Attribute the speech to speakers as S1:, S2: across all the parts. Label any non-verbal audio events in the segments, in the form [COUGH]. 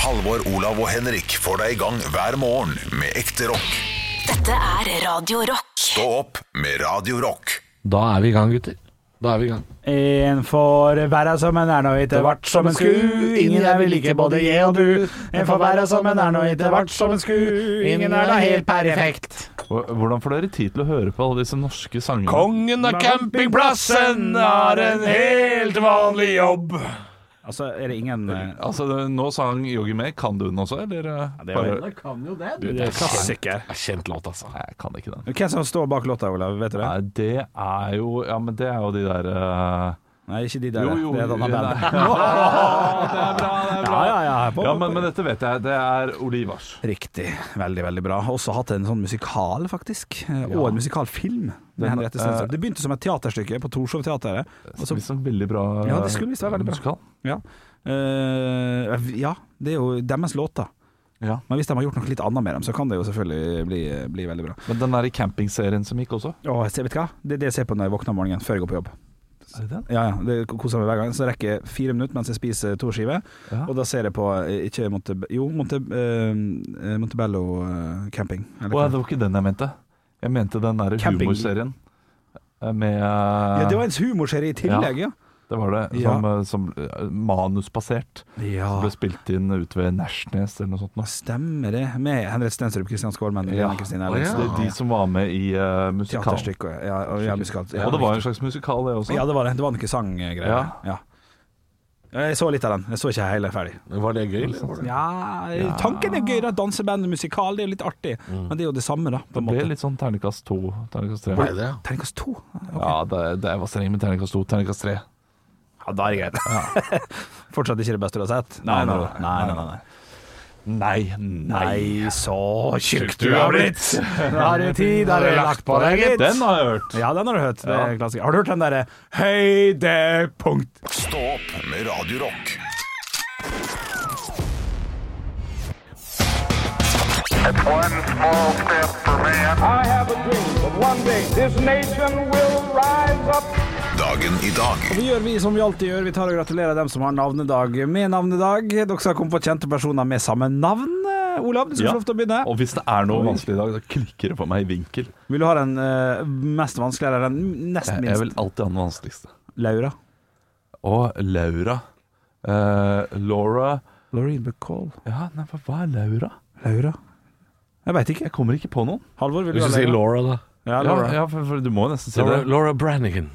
S1: Halvor, Olav og Henrik får deg i gang hver morgen med ekte rock.
S2: Dette er Radio Rock.
S1: Stå opp med Radio Rock.
S3: Da er vi i gang, gutter. Da er vi i gang.
S4: En får være som en er nå, ikke vart som en sku. Ingen er vi like, både jeg og du. En får være som en er nå, ikke vart som en sku. Ingen er da helt perfekt.
S5: Hva- Hvordan får dere tid til å høre på alle disse norske sangene?
S6: Kongen av campingplassen har en helt vanlig jobb.
S4: Altså, er det ingen eh,
S5: Altså, det- nå sang Yogi May. Kan du den også, eller? eh, Ja,
S4: det er jo-
S5: det er
S4: klassiker?
S5: Kjent låt, altså. Nei, jeg kan ikke den.
S4: Hvem som står bak låta, Olav? Vet du det?
S5: Nei, det er jo Ja, men det er jo de der eh,
S4: Nei, ikke de der. det er et
S5: [LAUGHS]
S4: annet
S5: nei.
S4: band.
S5: Åh, det er bra, det er
S4: Ja,
S5: bra.
S4: ja, ja. På,
S5: Ja, men, men dette vet jeg. Det er Olivas.
S4: Riktig. Veldig, veldig bra. Også hatt en sånn musikal, faktisk. eh, Og en musikalfilm. Med Henriette
S5: eh,
S4: Stenstrøm. Det begynte som et teaterstykke på Torshov Teateret. og så-
S5: Visstnok veldig bra
S4: Ja, det skulle visst være veldig bra.
S5: musikal.
S4: Ja. Eh, ja, det er jo deres låter.
S5: Ja.
S4: Men hvis de har gjort noe litt annet med dem, så kan det jo selvfølgelig bli, bli veldig bra.
S5: Men den der i campingserien som gikk også?
S4: Og jeg ser- vet du hva? Det er det jeg ser på når jeg våkner om morgenen før jeg går på jobb.
S5: Er det den?
S4: Ja, ja, det koser meg hver gang. Så rekker jeg fire minutter mens jeg spiser to skiver,
S5: Ja.
S4: og da ser jeg på eh, ikke Monte, Jo, Monte, eh, Montebello eh, camping. Eller
S5: Å, ja,
S4: hva?
S5: det var ikke den jeg mente. Jeg mente den der
S4: Camping.
S5: humorserien eh, med eh,
S4: ja, det var en humorserie i tillegg, ja.
S5: Det var det.
S4: Ja. Ah.
S5: Som, eh, som eh, manusbasert.
S4: Ja,
S5: Som ble spilt inn ute ved Nærsnes eller noe sånt. nå.
S4: stemmer det. Med Henrik Stenstrup, Kristian Skålmenn,
S5: Ja.
S4: Lene Kristine
S5: Det
S4: Ellingsen.
S5: er de som var med i eh, musikalen.
S4: Teaterstykket. Ja, og, ja, musikal. ja,
S5: og det var en slags musikal, det også.
S4: Ja, det var det. Det var noe sanggreier. Sånn? Ja.
S5: Ja.
S4: Jeg så litt av den. Jeg så ikke hele ferdig.
S6: Var det gøy?
S4: Ja, Tanken er gøy, da. Danseband, musikal, det er jo litt artig. Men det er jo Mm. det samme, da. På
S5: Det
S4: en
S5: ble
S4: måte.
S5: litt sånn terningkast to, terningkast tre.
S6: det?
S4: Terningkast to.
S5: Ja, det, det var streng med terningkast to, terningkast tre.
S4: Ja, [LAUGHS] da er det greit. Fortsatt ikke det beste du har sett? Nei, nei, nei. nei, nei.
S5: Nei, nei.
S4: så tjukk
S6: du har blitt.
S4: Da er det tid, da er det lagt på deg, gitt.
S5: Den har jeg hørt.
S4: Ja, den har du hørt. Det er klassiker. Har du hørt den derre høydepunkt?
S1: Stå opp med Radio Rock.
S7: One small step for man. I have a dream that one day this nation will rise up.
S1: Dagen i dag.
S4: Vi gjør vi som vi alltid gjør. Vi tar og gratulerer dem som har navnedag med navnedag. Dere skal komme på kjente personer med samme navn. Eh, Olav, du skal
S5: Ja.
S4: få lov til å begynne.
S5: Og hvis det er noe vanskelig i dag, da klikker det for meg i vinkel.
S4: Vil du ha den eh, mest vanskelige eller den nest
S5: Jeg,
S4: minst?
S5: jeg vil alltid ha den vanskeligste.
S4: Laura.
S5: Og Laura. Eh, Laura
S4: Laureen Bacall.
S5: Ja, nei, hva- hva er Laura?
S4: Laura. Jeg veit ikke.
S5: Jeg kommer ikke på noen.
S4: Halvor, vil du
S6: Hvis
S4: ha
S6: du sier
S4: Laura?
S6: Laura, da.
S4: Ja, Laura.
S5: Ja, ja for, for du må jo nesten si
S6: Laura,
S5: det.
S6: Laura Brannigan.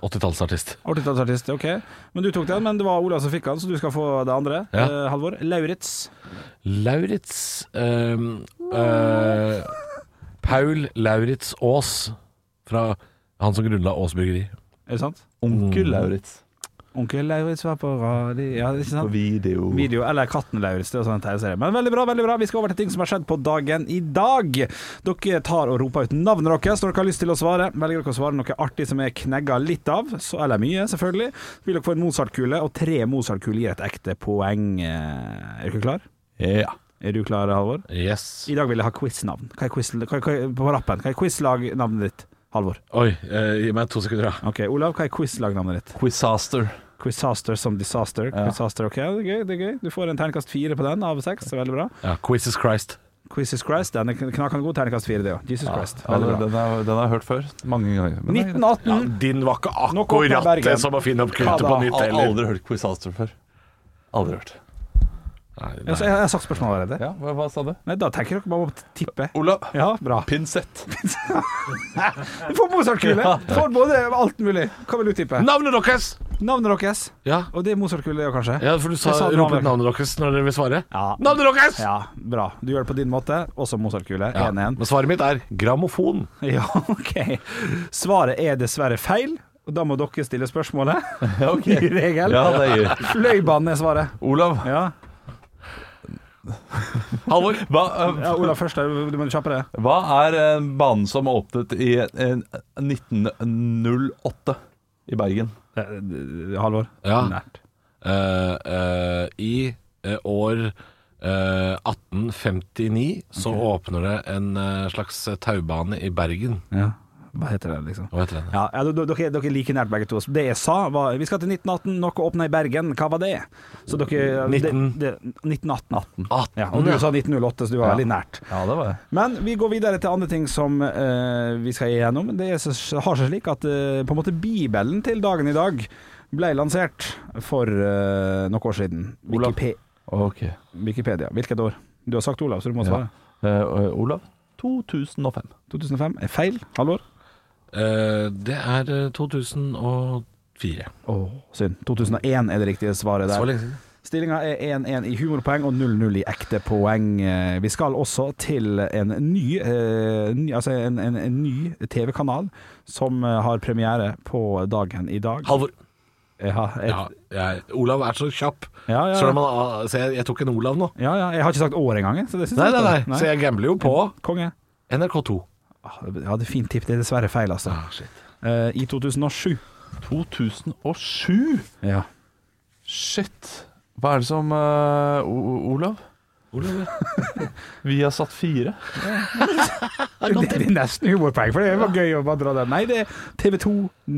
S6: 80-tallsartist.
S4: Åttitallsartist, ok. Men du tok den, men det var Olav som fikk den, så du skal få det andre.
S6: Ja.
S4: Eh, Halvor. Lauritz.
S6: Lauritz ehm, eh, Paul Lauritz Aas. Fra han som grunnla Aas Bryggeri.
S4: Er det sant?
S5: Onkel Lauritz.
S4: Onkel Lauritz var på radio Ja, det er ikke
S5: På
S4: sant?
S5: video.
S4: video, eller Katten Lauritz. Det er også en tegneserie. Men veldig bra, veldig bra. Vi skal over til ting som har skjedd på dagen i dag. Dere tar og roper ut navnet deres når dere har lyst til å svare. Velger dere å svare noe artig som er knegga litt av, så, eller mye, selvfølgelig, vil dere få en Mozart-kule, og tre Mozart-kuler gir et ekte poeng. Eh, Er dere klar?
S5: Ja.
S4: Er du klar, Halvor?
S6: Yes.
S4: I dag vil jeg ha quiz-navn. Hva er quiz hva er, hva er, på rappen? Hva er quiz-lagnavnet ditt? Halvor.
S6: Oi, eh, gi meg to sekunder, da.
S4: Ok, Olav, hva er quiz-lagnavnet ditt?
S5: Quizaster.
S4: Quizaster som disaster. Quizaster, ok, det er gøy. det er gøy Du får en terningkast fire på den av seks. Veldig bra.
S6: Ja, Quizzes Christ.
S4: Quizzes Christ, den er kn- knakende god. Terningkast fire, det òg. Jesus Christ.
S5: Ja,
S4: Veldig bra.
S5: den, den, er, den har jeg hørt før. Mange ganger. Men jeg-
S4: 1918.
S6: Din var ikke
S4: Nå kom jeg Bergen.
S6: det som å finne opp
S4: Ja,
S6: kruttet
S4: da.
S6: på
S5: jeg
S6: nytt
S5: har
S6: heller.
S5: aldri hørt Quizaster før. Aldri hørt.
S6: Nei,
S4: Ja, så
S6: nei.
S4: jeg, jeg har sagt spørsmålet allerede.
S5: Ja, hva, hva sa du?
S4: Nei, da tenker dere bare på å tippe.
S5: Olav.
S4: Ja, bra.
S5: Pinsett.
S4: Du får Mozart-kule! Du Får både alt mulig. Hva vil du tippe?
S6: Navnet deres!
S4: Navnet deres.
S6: Ja.
S4: Og det er Mozart-kule, ja, kanskje?
S6: ja, for du sa,
S4: Jeg sa
S6: rop ut
S4: navnet.
S6: navnet deres når dere vil svare.
S4: Ja.
S6: Navnet deres!
S4: Ja, bra. Du gjør det på din måte. Også Mozart-kule.
S6: Ja, Men
S4: 1-1.
S6: svaret mitt er grammofon.
S4: [LAUGHS] Ja, OK. Svaret er dessverre feil, og da må dere stille [LAUGHS] spørsmålet.
S5: Ja,
S4: I regel.
S5: Ja, det gir
S4: Fløibanen er svaret.
S5: [LAUGHS] Olav.
S4: Ja.
S6: Halvor.
S5: Hva, eh,
S4: ja Olav først, da. du må kjappe det.
S5: hva er eh, banen som åpnet i eh, 1908 i Bergen?
S4: Eh, Halvor.
S6: Ja.
S4: Nært.
S6: Eh, eh, I eh, år eh, 1859 så åpner det en eh, slags taubane i Bergen.
S4: Ja. Hva heter den, liksom?
S6: Hva heter den?
S4: Ja, ja, d- d- dere, dere er like nært begge to. Så Det jeg sa, var Vi skal til 1918, noe åpna i Bergen. Hva var det? Så dere det-
S8: 19.
S4: det- 1918.
S6: 18,
S4: Ja, og
S6: ja.
S4: du sa 1908, så du var veldig nært.
S5: Ja, det var det.
S4: Men vi går videre til andre ting som eh, vi skal igjennom. Det er, så- har seg slik at eh, på en måte Bibelen til dagen i dag ble lansert for eh, noen år siden.
S5: Olav.
S4: Wikipe
S5: Ok.
S4: Wikipedia. Hvilket år? Du har sagt Olav, så du må
S5: Ja.
S4: svare.
S5: Eh, Olav? 2005.
S4: 2005? Er feil? Halvor?
S6: Eh, det er eh, 2004.
S4: Åh, synd. 2001 er det riktige svaret
S6: Så
S4: der.
S6: lenge siden.
S4: Stillinga er 1-1 i humorpoeng og 0-0 i ekte poeng. Eh, Vi skal også til en ny, eh, ny altså en, en, en ny TV-kanal som eh, har premiere på dagen i dag.
S6: Halvor.
S4: Ja, et,
S6: Ja, jeg, Olav er så kjapp.
S4: Ja, ja,
S6: Så,
S4: ja.
S6: når man, ah, så jeg, jeg tok en Olav nå.
S4: ja, ja. Jeg har ikke sagt år engang. jeg, Så det synes
S6: Nei,
S4: jeg
S6: nei,
S4: ikke.
S6: nei. Så jeg gambler jo på
S4: Konge.
S6: NRK2.
S4: Ah, Jeg hadde fint tipp. Det er dessverre feil, altså.
S6: Ah, shit.
S4: Eh, I 2007.
S5: 2007?
S4: Ja.
S5: Shit. Hva er det som eh, O- O- Olav?
S6: Olav, ja.
S5: Vi har satt fire.
S4: Det det er nesten humorpoeng, for det var gøy å bare dra den. Nei, det er TV 2,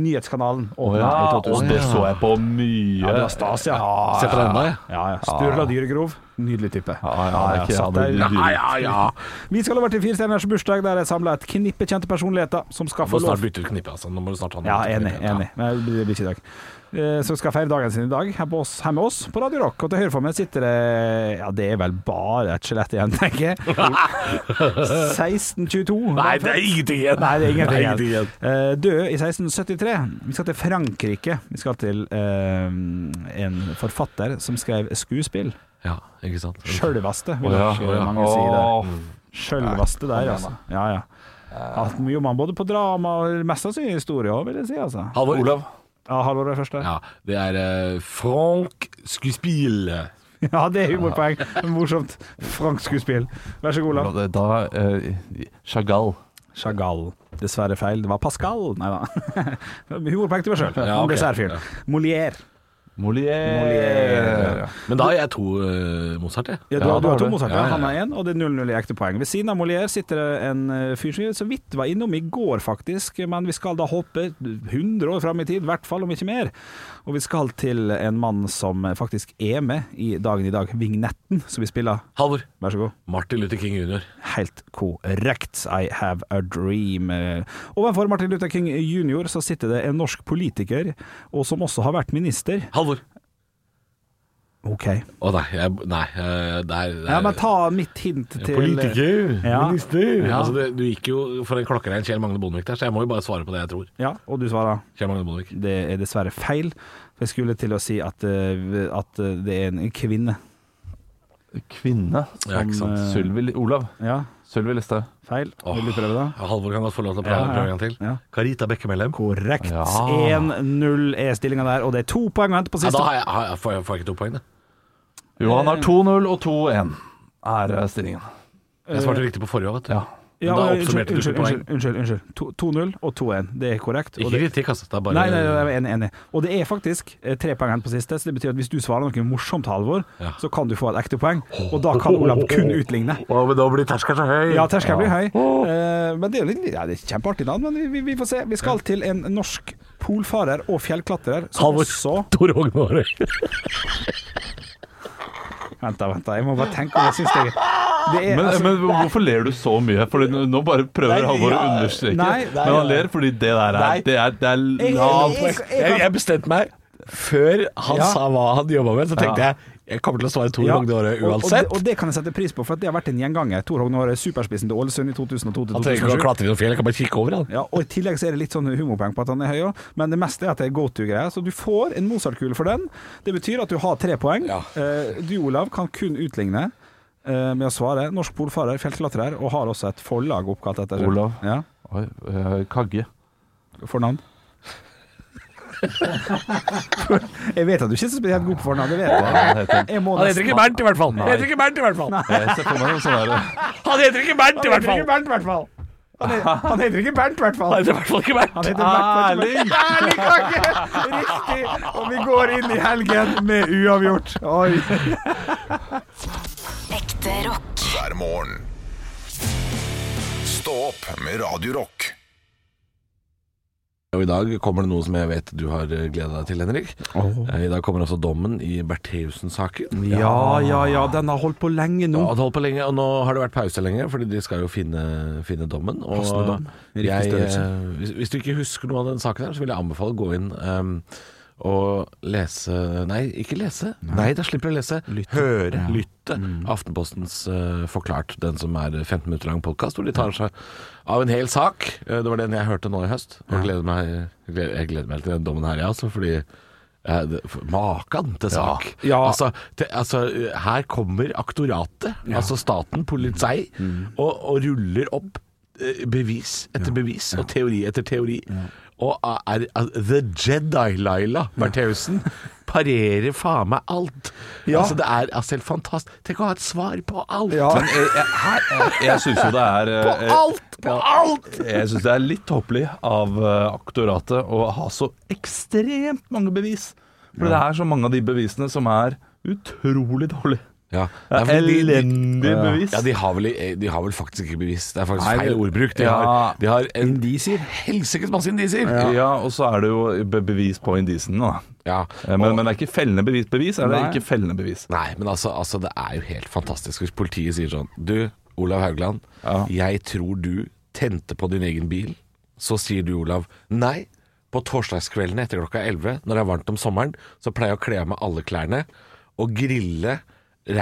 S4: nyhetskanalen. Åpnet i 2000.
S5: og det så jeg på mye.
S4: Ja, det var stas, ja.
S6: Se på den da, jeg.
S4: Ja, ja. Sturla Dyregrov. Nydelig type.
S5: ja, det er ikke-
S4: satt
S5: ja, det er
S4: der.
S5: dyre.
S6: Ja, ja, ja.
S4: Vi skal over til Fire stjerners bursdag, der jeg samla et knippe kjente personligheter som skal
S6: Du
S4: få
S6: må snart
S4: lov
S6: bytte ut knippet, altså. Nå må du snart ha noe
S4: Ja,
S6: annet
S4: enig.
S6: knippe.
S4: enig. Nei, det blir ikke i dag. Eh, Som skal feire dagen sin i dag, her, på oss, her med oss på Radio Rock. Og til høyre for meg sitter det Ja, det er vel bare et skjelett igjen, tenker jeg. 1622.
S6: Nei, det er ingenting igjen.
S4: Nei, det er
S6: Det er
S4: ingenting
S6: ingenting
S4: igjen.
S6: igjen.
S4: Eh, Død i 1673. Vi skal til Frankrike. Vi skal til eh, en forfatter som skrev skuespill.
S6: Ja, ikke sant.
S4: Sjølvaste, vil
S5: Å, ja,
S4: nok eh,
S5: å, ja.
S4: mange si det.
S5: Åh,
S4: Sjølvaste der, altså. Ja, ja. Hatt mye om han både på drama og mest sannsynlig historie òg, vil jeg si. altså
S6: Halvor.
S5: Olav.
S4: Ja, Halvor er først der.
S6: Ja, det er eh, Frank Skuespill.
S4: [LAUGHS] Ja, det er humorpoeng. Morsomt. Fransk skuespill. Vær så god, Olav.
S5: Da, da eh, Chagall.
S4: Chagall. Dessverre feil. Det var Pascal. Nei da. [LAUGHS] humorpoeng til meg sjøl.
S6: Ja, ok. Ja.
S4: Molière.
S5: Molière.
S6: Men da har jeg to eh, Mozart, jeg.
S4: Ja, du,
S5: Ja,
S4: har- du
S5: da
S4: har
S5: har
S4: to
S5: du.
S4: Mozart, ja.
S6: Ja, ja,
S4: han er én, og det er 0-0 i ekte poeng. Ved siden av Molière sitter det en eh, fyr som vi så vidt var innom i går, faktisk, men vi skal da hoppe 100 år fram i tid, i hvert fall om ikke mer. Og vi skal til en mann som faktisk er med i dagen i dag, Vignetten, som vi spiller.
S6: Halvor.
S4: Vær så god.
S6: Martin Luther King jr.
S4: Helt korrekt. I have a dream. Eh, Overfor Martin Luther King jr. så sitter det en norsk politiker, og som også har vært minister.
S6: Halvor.
S4: OK.
S6: Å nei, jeg, nei eh, det er, det
S4: Ja,
S6: er
S4: men ta mitt hint til
S6: Politiker,
S4: Ja.
S6: minister
S4: Ja.
S6: altså, det, Du gikk jo for en klokkerein Kjell Magne Bondevik der, så jeg må jo bare svare på det jeg tror.
S4: Ja, og du svarer?
S6: Kjell Magne Bondevik.
S4: Det er dessverre feil. For jeg skulle til å si at, eh, at eh, det er en kvinne.
S5: Kvinne. Eh.
S6: Ja, ikke sant.
S4: eh,
S5: Sylvi Olav.
S4: Ja,
S5: Sylvi Listhaug.
S4: feil. Vil du prøve, da?
S6: Ja, Halvor kan godt få lov til å prøve,
S4: ja.
S6: prøve en gang til.
S4: Ja.
S6: Carita Bekkemellem.
S4: Korrekt.
S5: Ja.
S4: 1-0 er stillinga der, og det er to poeng å hente på
S6: Ja,
S4: siste.
S6: da har jeg, har jeg, får jeg får jeg ikke to poeng, da.
S5: Jo, han har 2-0 og 2-1 er eh, stillingen.
S6: Jeg svarte riktig på forrige òg, vet du.
S5: Ja.
S4: Ja,
S6: da
S4: men
S6: oppsummerte du ikke
S4: unnskyld, unnskyld, unnskyld, unnskyld. To- 2-0 og 2-1. Det er korrekt. Og
S6: Ikke
S4: det,
S6: kritikk, altså. Det er bare
S4: nei, nei, nei, jeg er enig, enig. Og det er faktisk eh, tre poeng å hente på siste, så det betyr at hvis du svarer noe morsomt, Halvor,
S6: Ja.
S4: så kan du få et ekte poeng. Og da
S6: [LAUGHS]
S4: kan Olav kun utligne.
S6: Å, men da blir terskelen så høy.
S4: Ja, terskelen blir høy. Eh, men det er jo litt ja, det er kjempeartig navn, men vi, vi, vi får se. Vi skal til en norsk polfarer og fjellklatrer som
S6: Halvor.
S4: også
S6: Tor Rognar.
S4: Vent, da, vent, da. Jeg må bare tenke om jeg syns det er Det er
S5: Men,
S4: altså
S5: men hvorfor ler du så mye? Fordi nå- nå bare prøver Halvor å understreke.
S4: Nei, nei,
S5: men han ler fordi det der er Det er, det er lavt.
S4: jeg- jeg-
S6: Jeg, jeg bestemte meg før han
S4: Ja.
S6: sa hva han jobba med, så tenkte jeg jeg kommer til å svare Tor
S4: ja,
S6: Rognar
S4: og-
S6: uansett.
S4: Og, det, og det kan jeg sette pris på, for at det har vært en gjenganger. Tor Hogne Aare, superspissen til Ålesund i 2002 til
S6: Han trenger ikke å
S4: 2007.
S6: klatre i noe fjell, jeg kan bare kikke over han.
S4: Ja, og I tillegg så er det litt sånn humorpoeng på at han er høy òg, men det meste er at det er go to-greier. Så du får en Mozart-kule for den. Det betyr at du har tre poeng.
S6: Ja.
S4: Eh, du, Olav, kan kun utligne eh, med å svare. Norsk polfarer, fjellklatrer, og har også et forlag oppkalt etter seg.
S5: Olav.
S4: Ja,
S5: Oi, eh, Kagge.
S4: fornavn. jeg vet at du ikke er så spesielt god på fornavn, det vet jeg.
S5: Hva heter han?
S4: Jeg må
S6: Han heter
S4: nesten-
S6: ikke Bernt, i hvert fall. Han heter ikke Bernt, i hvert fall.
S5: Jeg ser Eh, for meg noen sånne der
S6: Han heter ikke Bernt, i hvert fall.
S4: Bernt, i hvert fall. Han he- Han heter ikke Bernt, i hvert fall.
S6: Han heter i hvert fall ikke
S4: Han
S6: Bernt.
S4: heter Bernt, i hvert fall. Erling Kagge! Riktig. Og vi går inn i helgen med uavgjort. Oi.
S2: Ekte rock.
S1: hver morgen. Stå opp med Radio Rock.
S6: Og I dag kommer det noe som jeg vet du har gleda deg til, Henrik. Eh, I dag kommer også dommen i Bertheussen-saken.
S4: Ja, ja, ja, den har holdt på lenge nå.
S6: Ja, det holdt på lenge, og nå har det vært pause lenge, fordi de skal jo finne, finne dommen. Og
S4: Passende dom, i riktig
S6: jeg,
S4: størrelse.
S6: eh, hvis, hvis du ikke husker noe av den saken her, så vil jeg anbefale å gå inn ehm, og lese Nei, ikke lese. Nei, da slipper du å lese. Høre, lytte.
S4: Mm.
S6: Aftenpostens eh, Forklart, den som er 15 minutter lang podkast, hvor de tar seg av en hel sak. Eh, det var den jeg hørte nå i høst, og gleder meg, gleder, jeg gleder meg til den dommen her, jeg også, fordi eh, det- for- Makan til sak!
S4: Ja.
S6: Altså, det, altså, her kommer aktoratet, altså staten, politi,
S5: Mm.
S6: og, og ruller opp eh, bevis etter bevis, og teori etter teori. Og eh, er, er The Jedi-Laila
S5: [LAUGHS]
S6: Bertheussen parerer faen meg alt. Altså, det er altså, helt fantastisk. Tenk å ha et svar på alt!
S5: Men jeg, jeg, her- jeg, jeg syns jo det er eh,
S6: På alt! På alt!
S5: Jeg syns det er litt tåpelig av eh, aktoratet å ha så ekstremt mange bevis. For det er så mange av de bevisene som er utrolig dårlige.
S6: Ja.
S5: Det er
S6: Nei, fordi de-
S5: elendige bevis.
S6: Ja, de har, vel, eh, de har vel faktisk ikke bevis. Det er faktisk
S5: Nei,
S6: feil
S5: det-
S6: ordbruk. De
S5: Ja.
S6: har, de har en helsikes masse indisier.
S5: Ja. og så er det jo be- bevis på indisen, da.
S6: Ja.
S5: Eh, Men, men det er ikke fellende bevis. Bevis er det
S4: Nei.
S5: ikke fellende bevis.
S6: Nei, men altså, altså, det er jo helt fantastisk hvis politiet sier sånn Du, Olav Haugland,
S5: Ja.
S6: jeg tror du tente på din egen bil. Så sier du, Olav, nei. På torsdagskveldene etter klokka 11, når det er varmt om sommeren, så pleier jeg å kle av meg alle klærne og grille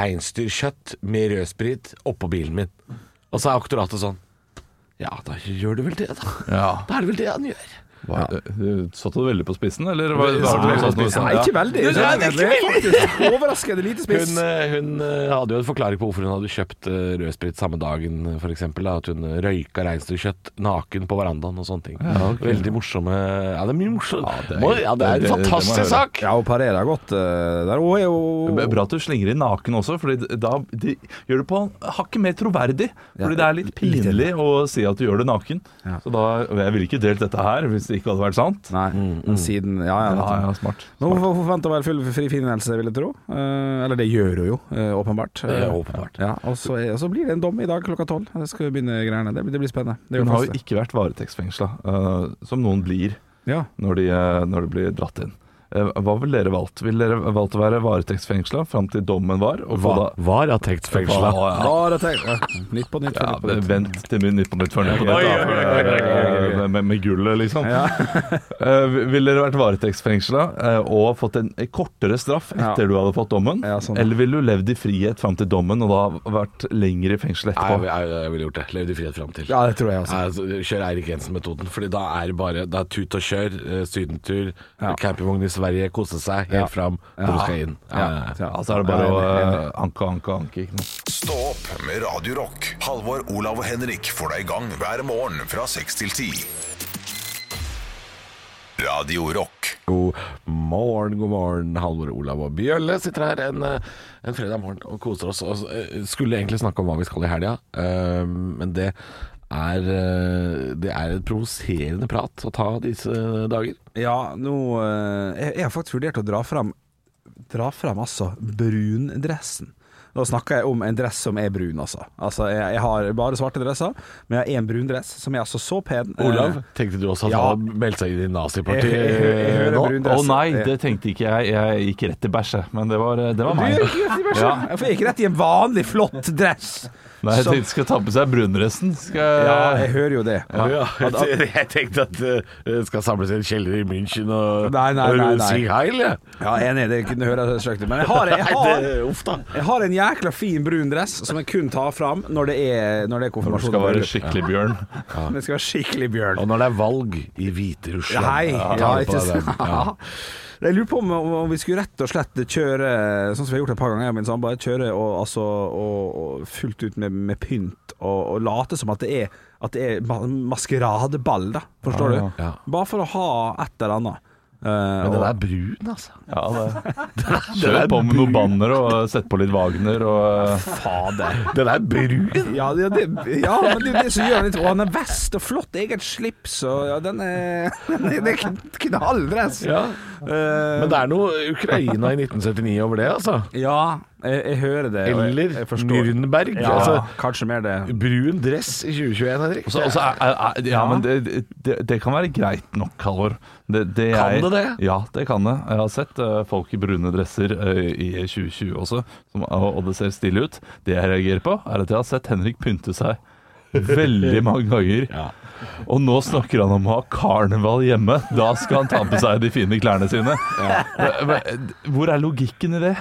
S6: reinsdyrkjøtt med rødsprit oppå bilen min. Og så er aktoratet sånn Ja, da gjør du vel det, da.
S5: Ja.
S6: Da er det vel det han gjør.
S5: Hva- eh, Satte du veldig på spissen, eller? Var, var,
S6: Satte
S5: det
S6: veldig
S5: noe
S6: på
S5: sånt-
S6: spissen.
S4: Nei,
S5: Ja.
S4: ikke veldig.
S6: Det er det ikke
S4: faktisk overraskende lite spiss.
S6: Hun, eh, hun eh, hadde jo en forklaring på hvorfor hun hadde kjøpt eh, rødsprit samme dagen, eh, for eksempel, da, At hun røyka reinsdyrkjøtt naken på verandaen og sånne ting. Veldig morsomme Ja, det er mye morsomt. Ja, det er, ja, det er en
S5: det- det må jeg
S6: fantastisk
S5: høre.
S6: sak!
S4: Ja, hun parerer godt eh, der. Hun er
S5: Det er
S4: jo
S5: Bra at du slenger inn naken også, for da de gjør det på hakket mer troverdig. Fordi det er litt pinlig å si at du gjør det naken.
S4: Ja.
S5: Så da Jeg ville ikke delt dette her hvis det ikke hadde vært sant.
S4: Nei, men siden Ja, ja.
S5: Ja,
S4: nettopp.
S5: ja, smart.
S4: Men Hun hun forventer vel full fri finelse, vil jeg tro. Eh, eller det gjør hun jo, eh, åpenbart.
S6: Det er åpenbart.
S4: Ja, og, så er, og så blir det en dom i dag klokka tolv. Da skal vi begynne greiene. Det, blir- det blir spennende. Det
S5: Hun
S4: gjør
S5: har
S4: fast
S5: jo
S4: det.
S5: ikke vært varetektsfengsla, eh, som noen blir
S4: Ja.
S5: når de, eh, når de blir dratt inn. Eh, Hva ville dere valgt? Ville dere valgt å være varetektsfengsla fram til dommen var? Og få da-
S6: var
S5: Hva-
S6: attektsfengsla?
S5: ja.
S4: Da har jeg tenkt ja. Nytt på nytt.
S5: Ja,
S4: nytt på nytt.
S5: vent til min Nytt på Nytt før Nytt på Nytt. da. Med- Med, med gullet, liksom. Eh, ville dere vært varetektsfengsla eh, og fått en kortere straff etter
S4: Ja.
S5: du hadde fått dommen?
S4: Ja, sånn.
S5: Eller ville du levd i frihet fram til dommen og da vært lenger i fengsel
S6: Nei,
S5: etterpå?
S6: jeg, jeg, jeg ville gjort det. Levd i frihet fram til.
S4: [LAUGHS] Ja, det tror jeg også.
S6: Nei, altså, Kjør Eirik Jensen-metoden, Fordi da er det bare Da er tut og kjør, eh, sydentur, campingvogn i Sverige, kose seg, helt fram til du skal inn. Ja, ja, ja.
S4: Ja,
S5: Altså er det bare å eh, anke, anke, anke. Ikke noe.
S1: Stå opp med Radio Rock. Halvor, Olav og Henrik får deg i gang hver morgen fra 6 til 10. Radio Rock.
S6: God morgen, god morgen. Halvor, Olav og Bjølle sitter her en, eh, en fredag morgen og koser oss. Og eh, skulle egentlig snakke om hva vi skal i helga, eh, men det er, eh, det er et provoserende prat å ta disse dager.
S4: Ja, nå eh, Jeg jeg har faktisk vurdert å dra fram Dra fram altså brundressen. Da snakker jeg om en dress som er brun, altså. Altså, jeg, jeg har bare svarte dresser, men jeg har én brun dress som er altså så pen. eh,
S6: Olav, Eh, tenkte du også at
S4: ja.
S6: han hadde meldt seg inn i
S4: Jeg- jeg- jeg- jeg
S6: nazipartiet
S4: hører
S6: nå?
S4: brun
S5: Å
S4: dress.
S5: nei, det tenkte ikke jeg. Jeg gikk rett i bæsjet, men det var, eh, det var
S4: Du
S5: meg.
S4: gikk rett i bæsjen.
S5: Ja.
S4: Jeg får ikke rett i en vanlig flott dress.
S5: Nei, jeg
S4: Som-
S5: tenkte skal ta på seg brunresten. Skal
S4: Ja,
S5: jeg
S4: jeg hører jo det.
S6: Å Ja. [LAUGHS] Jeg tenkte at det skal samles i en kjeller i München og,
S4: Nei, nei, nei,
S6: og
S4: nei.
S6: si heil. jeg.
S4: Ja, jeg er enig, det kunne høre det søkt ut. Men jeg har,
S6: [LAUGHS]
S4: jeg,
S6: Nei,
S4: har,
S6: det- Uff da.
S4: jeg har en jækla fin brun dress som jeg kun tar fram når det er, når det er
S5: Når du
S4: konfirmasjon.
S5: skal være skikkelig bjørn.
S4: Det skal være skikkelig bjørn.
S6: Og når det er valg i Hviterussland
S4: Hei,
S6: tar
S4: ja,
S6: du på
S4: ikke
S6: deg den.
S4: sant?
S6: [LAUGHS]
S4: [LAUGHS] Jeg lurer på om, om vi skulle rett og slett kjøre sånn som vi har gjort et par ganger, jeg og min samboer. Kjøre og, altså, og, og fullt ut med, med pynt og, og late som at det er, at det er ma- maskeradeball, da. Forstår
S5: Ja,
S4: du?
S6: ja.
S4: Bare for å ha et eller annet. Eh,
S6: Men
S4: og-
S6: den er brun, altså.
S5: Ja,
S4: [LAUGHS]
S5: det. Kjør på med noen banner og sett på litt Wagner og
S4: Fader.
S6: Den er brun! [LAUGHS]
S4: Ja, ja, det, ja, men det er jo det som gjør den litt Og han er vest og flott, eget slips og ja, den er [LAUGHS] Det er knalldress.
S6: Eh, Men det er noe Ukraina i 1979 over det, altså.
S4: Eh, Ja, jeg, jeg hører det. og jeg-
S6: Eller
S4: jeg forstår.
S6: Nürnberg.
S4: Ja,
S6: Altså,
S4: kanskje mer det.
S6: brun dress i 2021, Henrik.
S5: Og så- og så er- er- er- ja, men det, det, det kan være greit nok, Halvor. Det, det
S6: Kan
S5: jeg-
S6: det det?
S5: Ja, det kan det. Jeg har sett eh, folk i brune dresser eh, i 2020 også, som, og og det ser stille ut. Det jeg reagerer på, er at jeg har sett Henrik pynte seg veldig
S6: [LAUGHS]
S5: mange ganger. Og nå snakker han om å ha karneval hjemme. Da skal han ta på seg de fine klærne sine. Men- men Hvor er logikken i det?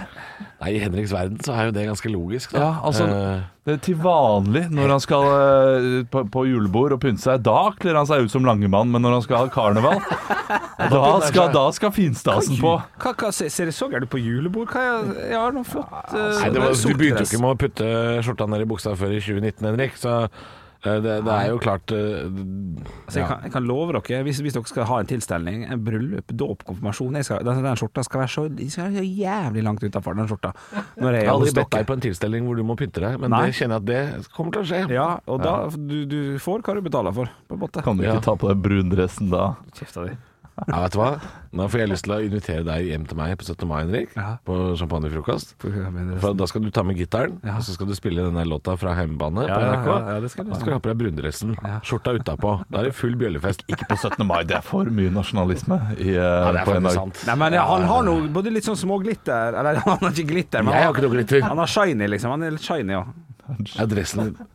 S6: Nei, I Henriks verden så er jo det ganske logisk. Da.
S5: Ja, altså,
S6: Eh,
S5: det er til vanlig når han skal eh, på, på julebord og pynte seg, da kler han seg ut som Langemann, men når han skal ha karneval, [LAUGHS] da skal, da skal finstasen på.
S4: Hva, hva, ser- ser jeg så gærent på julebord? Hva, jeg, jeg har nå fått eh,
S6: Nei, altså, det var, du
S4: sort
S6: begynte jo
S4: dress.
S6: ikke med å putte skjorta ned i buksa før i 2019, Henrik. Så eh, det, det er jo klart eh,
S4: Altså, jeg,
S6: ja.
S4: kan, jeg kan love dere, hvis, hvis dere skal ha en tilstelning, en bryllup, dåp, konfirmasjon jeg skal, den, den skjorta skal være så, de skal være så jævlig langt utafor den skjorta. Når
S6: Jeg
S4: jeg
S6: har
S4: er
S6: aldri
S4: hos
S6: bedt deg
S4: dere.
S6: på en tilstelning hvor du må pynte deg, men
S4: Nei.
S6: det kjenner jeg at det kommer til å skje.
S4: Ja, og da du, du får hva du betaler for, på en måte.
S5: Kan du
S6: Ja.
S5: ikke ta på deg brundressen da?
S4: Kjefta di.
S6: Ja, vet du hva? Nå får jeg lyst til å invitere deg hjem til meg på 17. mai, Henrik.
S4: Ja.
S6: På champagnefrokost.
S4: For hva mener du?
S6: For da skal du ta med gitaren, og så skal du spille den der låta fra hjemmebane
S4: Ja,
S6: på
S4: ja,
S6: NRK.
S4: ja, ja, det skal du.
S6: så skal du ha på deg brundressen, skjorta utapå. Da er det full bjøllefest.
S4: [LAUGHS]
S6: Ikke på 17.
S5: Nei, mai, det er for mye nasjonalisme i, eh,
S6: Ja, det er
S5: på
S6: faktisk
S5: en dag.
S6: sant.
S4: Nei, men han har noe både litt sånn små glitter Eller [LAUGHS] han har ikke glitter, men
S6: Jeg har
S4: han,
S6: ikke noe glitter.
S4: han har shiny, liksom. Han er litt shiny, ja.
S6: Er dressen din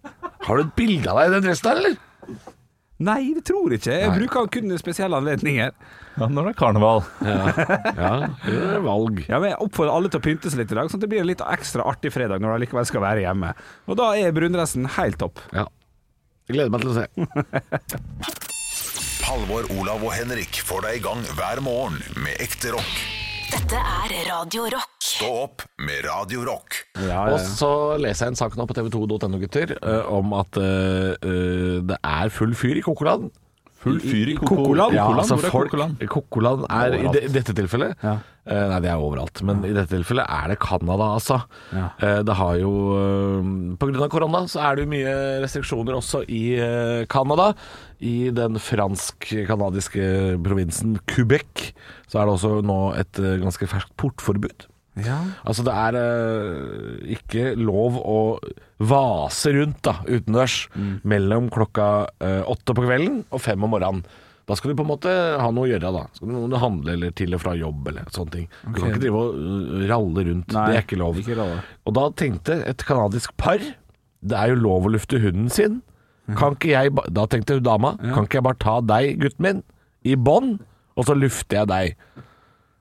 S6: Har du et bilde av deg i den dressen der, eller?
S4: Nei, det tror jeg ikke. Jeg
S6: Nei.
S4: bruker han kun i spesielle anledninger.
S5: Ja, når det er karneval.
S6: Ja, det er valg.
S4: Ja, men Jeg oppfordrer alle til å pynte seg litt i dag, sånn at det blir en litt ekstra artig fredag når de likevel skal være hjemme. Og da er brundressen helt topp.
S6: Ja. Jeg gleder meg til å se.
S1: Halvor, Olav og Henrik får deg i gang hver morgen med ekte rock.
S2: Dette er Radio Rock.
S1: Stå opp med Radio Rock.
S4: ja.
S6: Og så leser jeg en sak nå på tv2.no, gutter, eh, om at eh, eh, det er full fyr i Kokoland.
S5: Full fyr i koko-
S4: Kokoland?
S6: Ja,
S5: Kokoland?
S6: altså
S5: Hvor er
S6: folk,
S5: Kokoland?
S6: Kokoland er i, de, i dette tilfellet
S4: Ja.
S6: eh, Nei, det er overalt, men i dette tilfellet er det Canada, altså.
S4: Ja.
S6: Eh, det har jo eh, På grunn av korona så er det jo mye restriksjoner også i eh, Canada. I den fransk-canadiske provinsen Quebec så er det også nå et eh, ganske ferskt portforbud. Altså det er eh, ikke lov å vase rundt da, utendørs
S4: Mm.
S6: mellom klokka eh, åtte på kvelden og fem om morgenen. Da skal du på en måte ha noe å gjøre da. Skal du noe å handle eller til og fra jobb eller sånne ting. Du kan ikke drive og eh, ralle rundt.
S4: Nei,
S6: det er ikke lov.
S4: ikke ralle.
S6: og da tenkte et kanadisk par, det er jo lov å lufte hunden sin.
S4: Mhm.
S6: Kan ikke jeg, ba- da tenkte hun dama, kan ikke jeg bare ta deg, gutten min, i bånd, og så lufter jeg deg.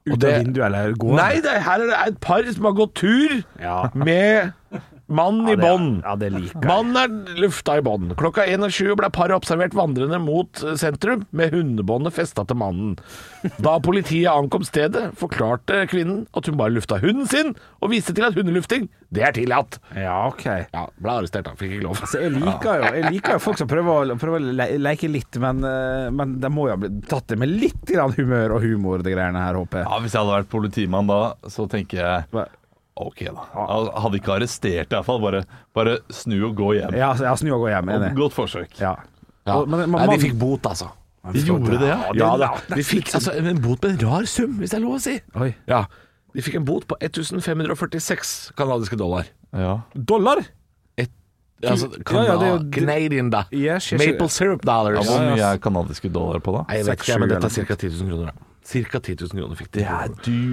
S4: Ut av
S6: det-
S4: vinduet eller gå?
S6: Nei, det, her er det et par som har gått tur
S4: Ja.
S6: med mann i bånd.
S4: Ja, det liker jeg.
S6: Mannen er lufta i bånd. Klokka 21 ble paret observert vandrende mot eh, sentrum med hundebåndet festa til mannen. Da politiet ankom stedet, forklarte kvinnen at hun bare lufta hunden sin, og viste til at hundelufting, det er tillatt.
S4: Ja, ok.
S6: Ja, ble arrestert, da. Fikk ikke lov.
S4: Så Altså, jeg liker jo, jeg liker jo folk som prøver å, prøver å le leke litt, men, eh, men de må jo ha blitt tatt det med litt grann humør og humor, de greiene her, håper jeg.
S5: Ja, hvis jeg hadde vært politimann da, så tenker jeg
S4: Hva-
S5: OK, da. Jeg hadde ikke arrestert deg, iallfall. Bare, bare snu og gå hjem.
S4: Ja, så jeg snur og går hjem. enig.
S5: Godt forsøk.
S4: Ja.
S6: Ja.
S4: Og- men- men
S6: Nei,
S4: mannen-
S6: de fikk bot, altså.
S5: De gjorde det, ja.
S6: Ja, da. De fikk altså, en bot med en rar sum, hvis det er lov å si.
S4: Oi.
S6: Ja. De fikk en bot på 1546 kanadiske dollar.
S5: ja.
S4: Dollar!
S6: Ja, altså,
S4: Ja, ja, det er jo-
S6: Cana- Canadian, da.
S4: Yes, yes,
S6: Maple
S4: yes.
S6: syrup dollars.
S5: Hvor mye er kanadiske dollar på, da?
S6: Nei, jeg vet
S4: Seks,
S6: ikke, men
S4: sju,
S6: dette er ca. 10 000 kroner. Da. Cirka 10 000 kroner fikk de.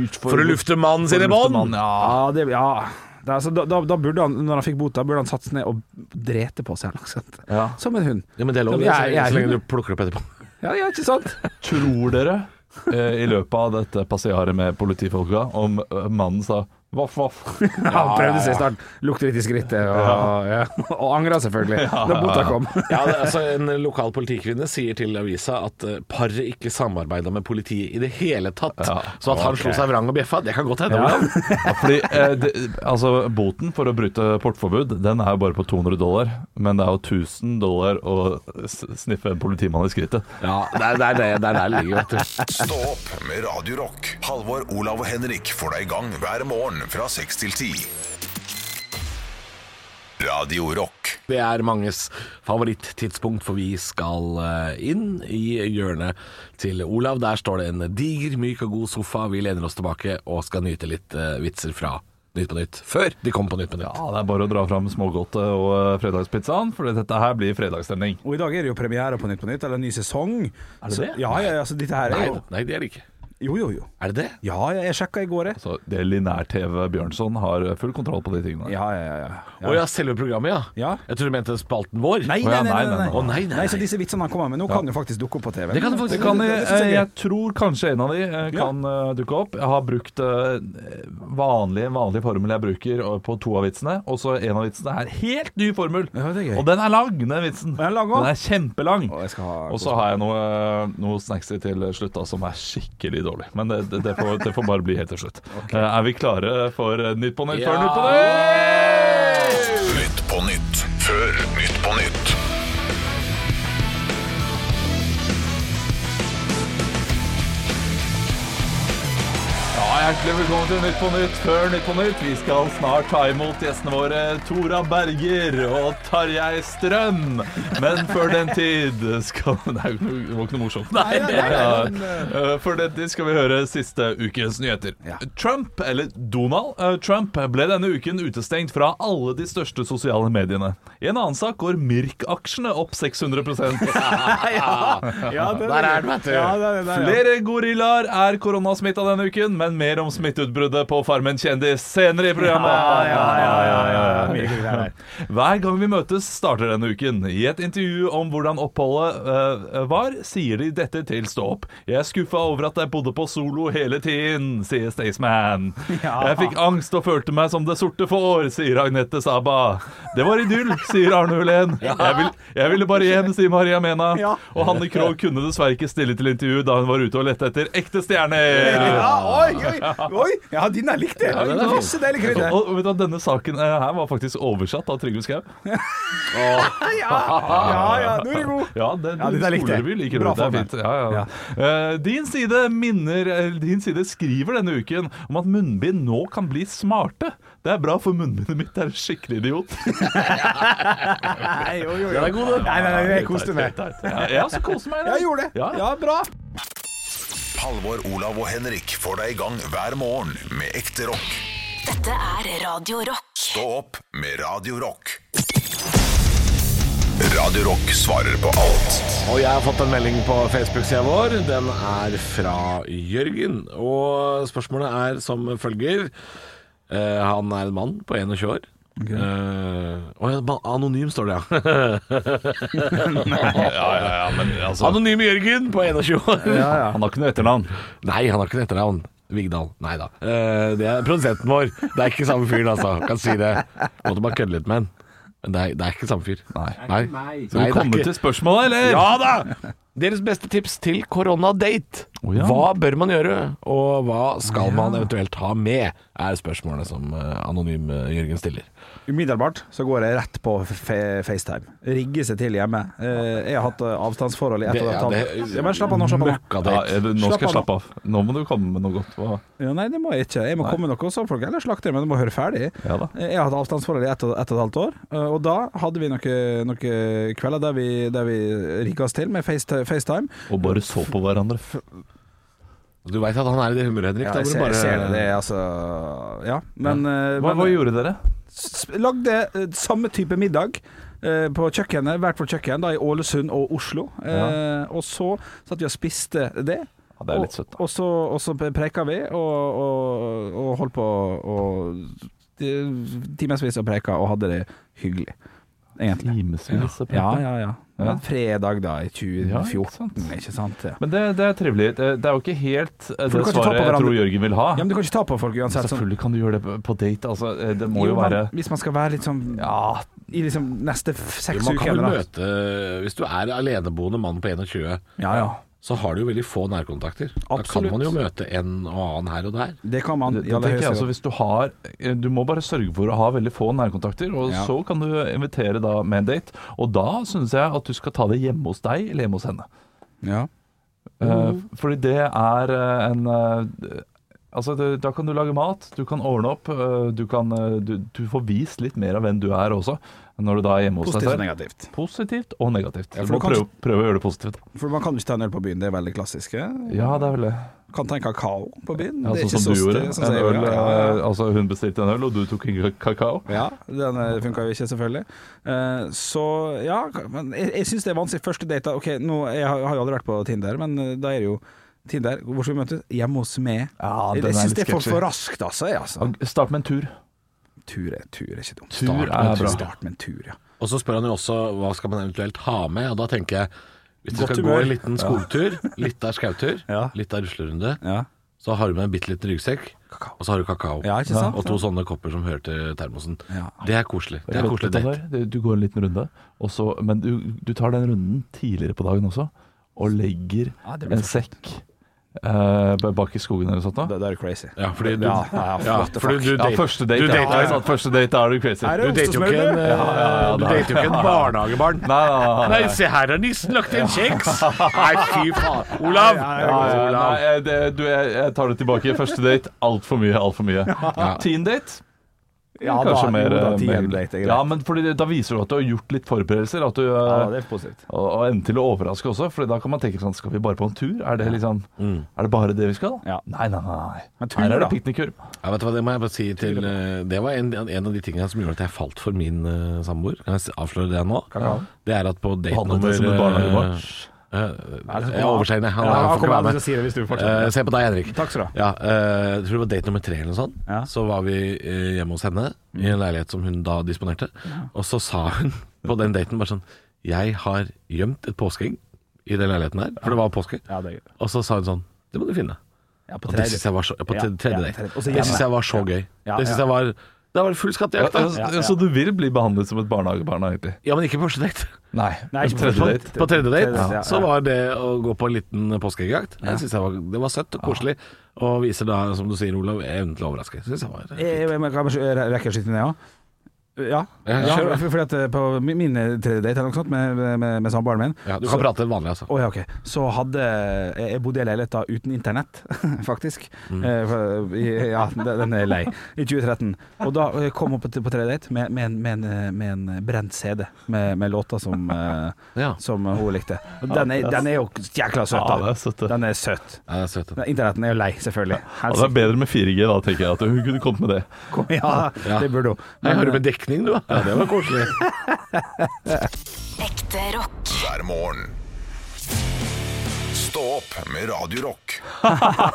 S5: dyrt
S6: For å lufte mannen sin i bånd!
S5: Ja.
S4: Ja, det, ja. Det, er altså, da, da- da burde han, når han fikk bota, burde han satt seg ned og drete på seg. eller noe sånt.
S5: Ja.
S4: Som en hund.
S6: Ja, men det er lov, det,
S4: Ja,
S6: så,
S4: jeg- jeg-
S6: så lenge du plukker opp etterpå.
S4: Ja, ja, ikke sant?
S6: [LAUGHS]
S5: Tror dere, eh, i løpet av dette passiaret med politifolka, om eh, mannen sa voff, voff?
S4: han prøvde seg snart. Lukte litt i skrittet, og, ja. [LAUGHS] og angra selvfølgelig da bota
S6: [LAUGHS]
S4: kom. [LAUGHS]
S6: Ja, det, er altså En lokal politikvinne sier til avisa at eh, paret ikke samarbeida med politiet i det hele tatt. Så at han slo seg vrang og bjeffa, det kan godt hende. Olav.
S5: Ja, fordi eh, det, altså, Boten for å bryte portforbud Den er jo bare på 200 dollar, men det er jo 1000 dollar å s- sniffe en politimann i skrittet.
S6: [LAUGHS] Ja, det er det er det- det er der det ligger, vet du.
S1: Stå opp med Radio Rock. Halvor, Olav og Henrik får deg i gang hver morgen fra 6 til 10. Radio Rock.
S6: Det er manges favorittidspunkt, for vi skal eh, inn i hjørnet til Olav. Der står det en diger, myk og god sofa. Vi lener oss tilbake og skal nyte litt eh, vitser fra Nytt på Nytt før de kom på Nytt på Nytt.
S5: Ja, det er bare å dra fram smågodtet og eh, fredagspizzaen, for dette her blir fredagsstemning.
S4: Og i dag er det jo premiere på Nytt på Nytt, eller en ny sesong. Er
S6: det det?
S4: ja, ja, altså dette her er
S6: Nei,
S4: jo
S6: nei, det er det ikke.
S4: Jo, jo, jo.
S6: Er det det?
S4: Ja, ja, jeg sjekka i går, jeg.
S5: Så det er linær-TV Bjørnson har full kontroll på de tingene.
S4: Ja, ja, ja.
S6: Å ja, selve programmet, ja.
S4: Ja.
S6: Jeg tror du mente spalten vår.
S4: Nei,
S5: Å
S4: nei,
S5: ja,
S4: nei. nei,
S5: nei,
S4: nei,
S5: nei,
S6: Å nei, nei,
S4: Nei, så
S6: nei.
S4: disse vitsene han kommer med nå, kan jo faktisk dukke opp på TV.
S6: Det kan det faktisk
S5: Det
S4: Mm.
S5: kan,
S4: Det-
S5: jeg,
S4: det synes jeg er gøy.
S5: jeg tror kanskje en av de eh, kan eh, dukke opp. Jeg har brukt eh, vanlig, vanlig formel jeg bruker eh, på to av vitsene, og så en av vitsene er helt ny formel.
S4: Ja, det er gøy.
S5: Og den er lang, den vitsen.
S4: Den er lang også?
S5: Den er kjempelang.
S4: Å, jeg skal ha-
S5: Og så har jeg noe, eh, noe snacks til slutt da, som er skikkelig dårlig. Men det, det, det, får, det får bare bli helt til slutt. Eh, Er vi klare for eh, Nytt på nytt før Nytt på nytt?
S1: Nytt på nytt før Nytt på nytt.
S5: Ja, Hjertelig velkommen til Nytt på Nytt før Nytt på Nytt. Vi skal snart ta imot gjestene våre Tora Berger og Tarjei Strøm. Men før den tid skal Det er jo ikke noe- det var ikke noe morsomt. Nei, Eh, Før den tid skal vi høre siste ukens nyheter.
S4: Ja.
S5: Trump, eller Donald eh, Trump, ble denne uken utestengt fra alle de største sosiale mediene. I en annen sak går Mirk-aksjene opp 600
S4: Ja, det
S6: Der er den, vet du.
S4: Ja, det er det, der, ja.
S5: Flere gorillaer er koronasmitta denne uken, men mer om smitteutbruddet på Farmen kjendis senere i programmet. [LAUGHS]
S4: Mye gøy der, der.
S5: Hver gang vi møtes starter denne uken. I et intervju om hvordan oppholdet eh, var, sier de dette til Stå opp. Jeg er skuffa over at jeg bodde på solo hele tiden, sier
S4: [LAUGHS]
S5: Staysman. Jeg fikk angst og følte meg som det sorte får, sier Agnete Saba. Det var idyll, sier Arne
S4: [LAUGHS]
S5: Hulén. Jeg, vil, jeg ville bare hjem, sier Maria Mena. Og Hanne Krogh kunne dessverre ikke stille til intervju da hun var ute og lette etter ekte stjerner.
S4: Ja, oi, oi, oi! Ja, din er likt, det.
S5: den er fin.
S4: Masse deilig krydder.
S5: Og, og vet du, at Denne saken eh, her var faktisk oversatt av Trygve Skau.
S4: Ja, ja, ja, nå er du god.
S5: Ja, det,
S4: Ja, det der
S5: skoler
S4: likte jeg.
S5: vi liker
S4: Bra
S5: det. Det er
S4: form,
S5: fint. Ja, ja. Eh, din, side minner, eller din side skriver denne uken om at munnbind nå kan bli smarte. Det er bra, for munnbindet mitt er en skikkelig
S4: [LAUGHS]
S5: idiot.
S4: Nei, oi, oi, oi. Nei, nei, nei, jeg koste meg.
S5: Ja, jeg også koser meg. i dag.
S4: Jeg gjorde det.
S5: Ja, ja.
S4: Ja, bra.
S1: Halvor, Olav og Henrik får deg i gang hver morgen med ekte rock.
S2: Dette er Radio Rock.
S1: Stå opp med Radio Rock. Radio Rock svarer på alt.
S6: Og jeg har fått en melding på Facebook-sida vår. Den er fra Jørgen. Og spørsmålet er som følger. Eh, han er en mann på 21 år. Eh, Okay. anonym står det, ja.
S5: ja, ja, ja, men altså
S6: Anonym Jørgen på 21 år.
S5: Han har ikke noe etternavn.
S6: Nei, han har ikke et etternavn. Vigdal. Nei da. Eh, det er produsenten vår. Det er ikke samme fyren, altså. Kan si det. Måtte bare kødde litt med han. Men det er, det er ikke samme fyr. Nei. Nei.
S5: Skal vi
S6: det er
S5: komme
S6: ikke-
S5: til spørsmålet, eller?
S6: Ja da! Deres beste tips til koronadate.
S5: Å, ja.
S6: Hva bør man gjøre, og hva skal man eventuelt ha med, er spørsmålet som eh, anonym eh, Jørgen stiller.
S4: Umiddelbart så går jeg rett på fe FaceTime. Rigge seg til hjemme. Eh, Jeg har hatt eh, avstandsforhold i ett
S6: Det-
S4: og et
S6: ja,
S4: halvt
S6: det-
S4: Ja, Men slapp av nå, slapp av nå.
S5: Ja,
S6: eh,
S5: er det- nå skal jeg
S4: Slapp
S5: slappe av. Nå må du komme med noe godt. Hva?
S4: Ja, nei, det må jeg ikke. Jeg må komme med noe sånn, folk. Eller slakter, men du må høre ferdig. Eh,
S5: Ja da.
S4: Jeg har hatt avstandsforhold i ett og, ett og et halvt år, eh, og da hadde vi noen noe kvelder der vi, der vi rigga oss til med Face- FaceTime.
S5: Og bare så på hverandre.
S6: altså, Du veit at han er i det humøret, Henrik.
S4: Ja,
S6: da
S4: jeg,
S6: må du
S4: ser,
S6: bare-
S4: jeg ser det, det er altså Ja, men, eh,
S5: Hva,
S4: men-
S5: hva gjorde dere?
S4: s- lagde eh, samme type middag eh, på kjøkkenet, hvert vårt kjøkken, da i Ålesund og Oslo. Eh, Og så satt vi og spiste det.
S5: Ja, det er litt søtt, da.
S4: Og, og, så, og så preika vi, og, og, og holdt på og timevis og preika, og hadde det hyggelig. Egentlig.
S5: Timesvis å prate.
S4: Ja, ja, ja. Men fredag, da, i 2014,
S5: Ja, ikke
S4: ikke sant?
S5: sant.
S4: Ja.
S5: Men det, det er trivelig. Det det er jo ikke helt eh,
S4: du
S5: det
S4: kan ikke ta på
S5: svaret jeg
S4: hverandre.
S5: tror Jørgen vil ha.
S4: ja, men du kan ikke ta på folk uansett. Sånn.
S5: Selvfølgelig kan du gjøre det på- på date. Altså, eh, det må jo,
S4: Jo, men
S5: være
S4: Hvis man skal være litt sånn
S5: Ja,
S4: i liksom neste f-
S6: Jo,
S4: seks
S6: Man
S4: uker
S6: kan vel
S4: eller noe.
S6: møte Hvis du er aleneboende mann på 21,
S4: Ja, ja.
S6: så har du jo veldig få nærkontakter. Da kan
S4: Absolutt.
S6: man jo møte en og annen her og der.
S4: Det kan man.
S5: det,
S4: i
S5: det
S4: aller
S5: tenker jeg
S4: høyeste
S5: altså,
S4: grad.
S5: hvis du har eh, Du må bare sørge for å ha veldig få nærkontakter, og
S4: Ja.
S5: så kan du invitere da med en date. Og da syns jeg at du skal ta det hjemme hos deg eller hjemme hos henne.
S4: Ja.
S5: Eh, Fordi det er eh, en eh, Altså, det, Da kan du lage mat, du kan ordne opp, eh, du, kan, eh, du, du får vist litt mer av hvem du er også, når du da er hjemme hos deg
S4: Positivt og
S5: selv.
S4: negativt.
S5: Positivt og negativt.
S4: Ja,
S5: Du
S4: for
S5: må
S4: du kan-
S5: prøve, prøve å gjøre det positivt.
S4: For man kan jo ikke ta en øl på byen, det er veldig klassisk. eh?
S5: Ja, det er vel det.
S4: kan ta en kakao på byen.
S5: Ja,
S4: Det er
S5: sånn
S4: ikke
S5: som
S4: så
S5: du gjorde.
S4: sti- sånn som
S5: En
S4: jeg
S5: øl,
S4: gjorde, ja, ja.
S5: eh, Altså, hun bestilte en øl, og du tok en kakao.
S4: Ja, den funka jo ikke, selvfølgelig. Eh, så ja, men jeg, jeg syns det er vanskelig. Første date da, Ok, nå, jeg har jeg har jo aldri vært på Tinder, men eh, da er det jo Tinder. Hvor skal vi møtes? Hjemme hos meg.
S5: Ja,
S4: jeg
S5: den er
S4: jeg syns
S5: litt
S4: det er for,
S5: sketchy.
S4: for raskt, altså. jeg, altså.
S5: Start med en tur.
S4: Tur, er, tur er ikke dumt.
S5: Tur
S4: Start med
S5: er
S4: en tur.
S5: bra.
S4: Start med en tur, ja.
S6: Og så spør han jo også hva skal man eventuelt ha med, og da tenker jeg hvis du
S4: Godt
S6: skal
S4: humør.
S6: gå en liten skogtur, litt av skautur,
S4: [LAUGHS] Ja.
S6: litt av ruslerunde,
S4: ja.
S6: så har du med en bitte liten ryggsekk, og så har du kakao.
S4: Ja, ikke sant?
S6: Og to sånne kopper som hører til termosen.
S4: Ja.
S6: Det er koselig. Det er koselig date.
S5: Steinar. Du- Du går en liten runde, og så, men du, du tar den runden tidligere på dagen også, og legger
S4: Ja, det blir
S5: en sekk eh, bak i skogen eller noe sånt. Da.
S4: Da, da er du crazy.
S6: Ja, fordi du,
S4: Ja, ja,
S6: ja,
S4: what the
S6: fordi
S4: fuck.
S6: du
S5: Ja,
S6: date-
S5: første date.
S6: du
S5: ja,
S6: dater-
S5: ja, sant, første date, da er du crazy.
S4: Er det
S5: Du-
S6: Du dater jo ikke en,
S4: Ostesmørbrød?
S5: Ja, ja,
S6: eh, du
S5: da-
S6: dater jo ikke en barnehagebarn.
S5: Nei, nei, nei, nei.
S6: Nei, se her har nissen lagt igjen kjeks! Nei, fy faen. Olav!
S5: Ja, ja, ja,
S6: Olav.
S5: nei, jeg- det, du, jeg, jeg tar det tilbake. Første date, altfor mye, altfor mye. Teen date?
S4: Ja, da-
S5: Kanskje mer,
S4: jo, da,
S5: eh,
S4: teen
S5: mer-
S4: date er greit.
S5: Ja, men fordi det- da viser du at du har gjort litt forberedelser. At du, eh,
S4: Ja, det er positivt.
S5: og, og ende til å overraske også, for da kan man tenke sånn Skal vi bare på en tur? Er det, liksom, er det bare det vi skal?
S4: Ja.
S5: Nei, nei, nei.
S4: Men tur,
S5: Her er
S4: da.
S5: det piknikkurv.
S6: Ja, vet du hva, Det må jeg bare si til eh, Det var en, en av de tingene som gjorde at jeg falt for min eh, samboer. Kan jeg s- avsløre det nå? Det er at på date
S5: Behandlet det som et
S6: nummer
S5: barnehagebarn.
S6: eh, eh, Jeg overser henne. Han,
S4: Ja,
S6: han får
S4: kom
S6: ikke
S4: an,
S6: være
S4: du
S6: med.
S4: sier det hvis du
S6: Eh,
S4: fortsetter.
S6: se på deg, Henrik.
S4: Takk skal du ha.
S6: Ja, eh, jeg tror det var date nummer tre eller noe sånt.
S4: Ja. Mm.
S6: Så var vi eh, hjemme hos henne i en leilighet som hun da disponerte. Og så sa hun på den daten bare sånn Jeg har gjemt et påskeegg i den leiligheten her, for det var påske.
S4: Ja, det er gøy.
S6: Og så sa hun sånn Det må du finne.
S4: Ja, på
S6: Og det syns jeg var så, på
S4: Ja,
S6: tredje, tredje
S4: ja,
S6: date.
S4: tredje- og så
S6: Det
S4: hjemme.
S6: syns jeg var så gøy.
S4: Ja,
S6: Det syns
S4: ja.
S6: jeg var Da var det full skattejakt,
S5: Ja,
S6: da.
S5: Så du vil bli behandlet som et barnehagebarn, egentlig?
S6: Ja, men ikke på første date.
S5: Nei.
S4: Nei,
S5: en
S4: ikke på
S5: tredje
S4: første
S5: date.
S6: På tredje date
S4: Tredje date, ja,
S6: så
S4: ja.
S6: var det å gå på en liten påskeeggjakt. Det syns jeg var, det var søtt og koselig. Og viser da, som du sier, Olav, evnen til å overraske. Synes jeg var
S4: Jeg, jeg, jeg, Eh, kan jeg rekke å skyte ned, ja? Ja,
S6: Ja,
S4: ja
S6: kjør.
S4: for, fordi at eh, på min min tredje date eller noe sånt med, med, med samboeren min
S6: ja, Du kan prate vanlig, altså.
S4: Å ja, ok. Så hadde eh, Jeg jeg bodde i en leilighet da uten internett, [LAUGHS] faktisk.
S6: Mm.
S4: Eh, for- i- Ja, den- den er lei. I 2013. Og da eh, kom hun på, på tredje date med, med, en, med, en, eh, med en brent CD med, med låter som, eh,
S6: Ja.
S4: som hun likte. Og Den er, den er jo jækla søt,
S5: Ja, det
S4: da.
S5: er søtt, det.
S4: Den er søt.
S6: Ja, det er søtt.
S4: Nei, Internetten er jo lei, selvfølgelig.
S5: Ja, det er bedre med 4G, da, tenker jeg. At hun kunne kommet med det.
S4: Kom, [LAUGHS] ja,
S6: Ja.
S4: det burde hun.
S6: Nei,
S4: Men-
S6: har du med dekning, du? da? Ja, det var koselig.
S2: Ekte rock.
S1: hver morgen. Stå opp med Radio Rock.
S5: Ah!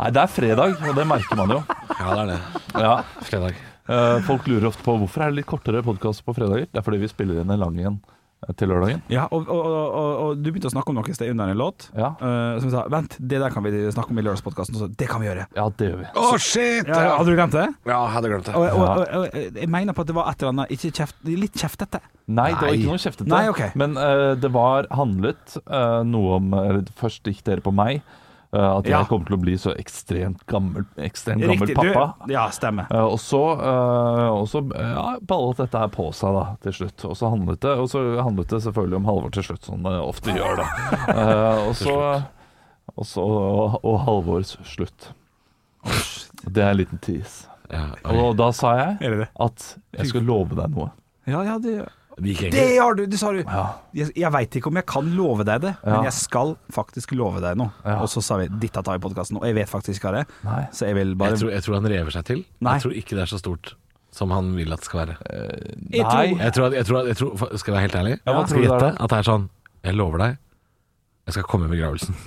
S5: Nei, det er fredag, og det merker man jo.
S6: Ja, det er det.
S5: Ja.
S6: Fredag.
S5: Eh, Folk lurer ofte på hvorfor er det litt kortere podkast på fredager. Det er fordi vi spiller inn en lang en eh, til lørdagen.
S4: [LAUGHS] Ja, og, og, og, og, og du begynte å snakke om noe i sted under en låt.
S5: Ja.
S4: eh, som sa vent, det der kan vi snakke om i lørdagspodkasten. Så det kan vi gjøre.
S5: Ja, det gjør vi.
S6: Å, shit!
S4: Ja, hadde du glemt det?
S6: Ja, jeg hadde glemt det.
S4: Og, og, og, og, jeg mener på at det var et eller annet ikke kjeft, litt kjeftete.
S5: Nei, det var
S6: Nei.
S5: ikke noe kjeftete.
S4: Nei, ok.
S5: Men eh, det var handlet eh, noe om eller, Først gikk dere på meg. eh, at
S4: Ja.
S5: jeg kommer til å bli så ekstremt gammel, ekstremt gammel
S4: Riktig.
S5: pappa.
S4: Du, ja, stemmer.
S5: Eh, og så, eh, og så eh, ja, ballet dette her på seg da, til slutt. Og så handlet det, og så handlet det selvfølgelig om Halvor til slutt, som det ofte
S4: [LAUGHS]
S5: gjør. da. Eh, og, så, og, så, og, Halvors slutt. Det er en liten tease.
S6: Ja, oi.
S5: Og da sa jeg
S4: Er det det?
S5: at jeg skal love deg noe.
S4: Ja, ja, det,
S6: Det gikk
S4: det
S6: egentlig.
S4: har du! Det sa du. Jeg, jeg veit ikke om jeg kan love deg det,
S5: Ja.
S4: men jeg skal faktisk love deg noe.
S5: Ja.
S4: Og så sa vi 'dette tar vi i podkasten', og jeg vet faktisk ikke hva det er.
S5: Nei.
S4: Så jeg vil bare
S6: Jeg tror, jeg tror han rever seg til.
S4: Nei.
S6: Jeg tror ikke det er så stort som han vil at det skal være.
S4: Jeg tror-
S5: Nei.
S6: Jeg tror, at- jeg tror, at- jeg tror for- Skal jeg være helt ærlig?
S5: Ja, hva
S6: Jeg
S5: tror du det er
S6: gjette
S5: da?
S6: At det er sånn Jeg lover deg Jeg skal komme i begravelsen [LAUGHS]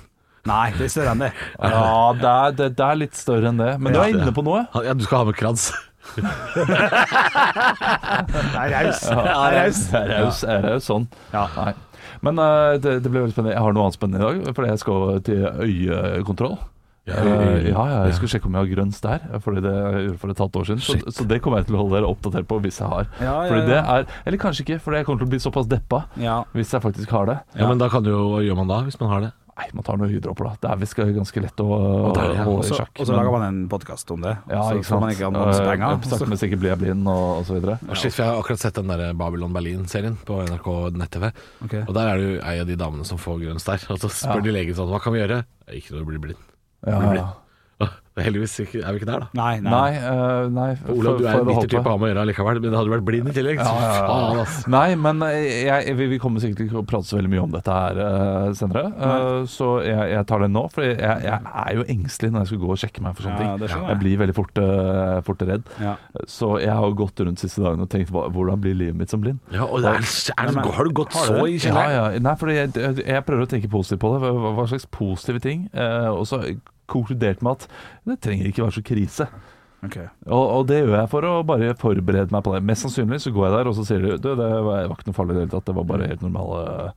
S4: Nei, det er større enn det.
S5: Ja, det er, det, det er litt større enn det. Men du
S4: Ja.
S5: er inne på noe.
S6: Han- Ja, du skal ha med krans
S4: Det er raus.
S5: Ja, det er raus. Det er raus sånn. Nei. Men eh, det, det ble veldig spennende. Jeg har noe annet spennende i dag, fordi jeg skal til øyekontroll.
S6: Ja,
S5: Eh,
S6: øye-
S5: ja, ja, jeg skal sjekke om jeg har grønns der, fordi det jeg gjorde for et halvt år siden. Så, så det kommer jeg til å holde dere oppdatert på hvis jeg har.
S4: Ja, ja,
S5: Fordi det
S4: ja.
S5: er, Eller kanskje ikke, fordi jeg kommer til å bli såpass deppa
S4: Ja.
S5: hvis jeg faktisk har det.
S6: Ja, men da kan du jo Hva gjør man da Hvis man har det?
S5: Nei, man tar noen øyedråper, da. Det er visst ganske lett å
S6: det er det, ja.
S5: holde i
S4: Så,
S5: sjakk.
S4: og så
S5: men-
S4: lager man en podkast om det,
S5: ja,
S4: og så
S5: ikke
S4: får
S5: sant.
S4: man ikke
S5: Eh,
S4: annonsepenger.
S5: Sakte, men sikkert blir jeg blind, og, og så videre.
S6: Å, Shit, for jeg har akkurat sett den der Babylon Berlin-serien På NRK nett-tv
S4: Ok.
S6: Og der er det jo En av de damene som får grønn stær Og så spør de legen sånn Hva kan vi gjøre? Ikke noe å bli blind
S5: Ja, ja.
S6: Heldigvis ikke, er vi ikke der, da.
S4: Nei, nei.
S5: Nei, eh, nei for-
S6: Olav, du er en
S5: for- for å holde
S6: bitter
S5: på.
S6: type å ha med å gjøre allikevel, men hadde du vært blind i tillegg, så
S5: Ja, ja, ja.
S6: faen, ass.
S5: Nei, men jeg, jeg, vi- vi kommer sikkert ikke til å prate så veldig mye om dette her eh, senere. Eh, så jeg, jeg tar den nå, for jeg, jeg er jo engstelig når jeg skal gå og sjekke meg for sånne
S4: Ja,
S5: ting.
S4: det skjønner
S5: Jeg blir veldig fort, eh, fort redd.
S4: Ja.
S5: Så jeg har gått rundt siste dagen og tenkt hva- hvordan blir livet mitt som blind?
S6: Ja, og det er, er,
S4: Nei, men-
S6: har du gått
S4: Har
S6: så
S4: du det?
S6: i
S5: Ja,
S6: kjelleren?
S5: ja. Nei, for jeg, jeg, jeg prøver å tenke positivt på det. Hva, hva slags positive ting? Eh, og så konkludert med at det trenger ikke være så krise.
S4: Ok.
S5: Og, og det gjør jeg for å bare forberede meg på det. Mest sannsynlig så går jeg der og så sier de du, det var var ikke noe farlig i det hele tatt, det var
S4: Mm.
S5: bare helt normale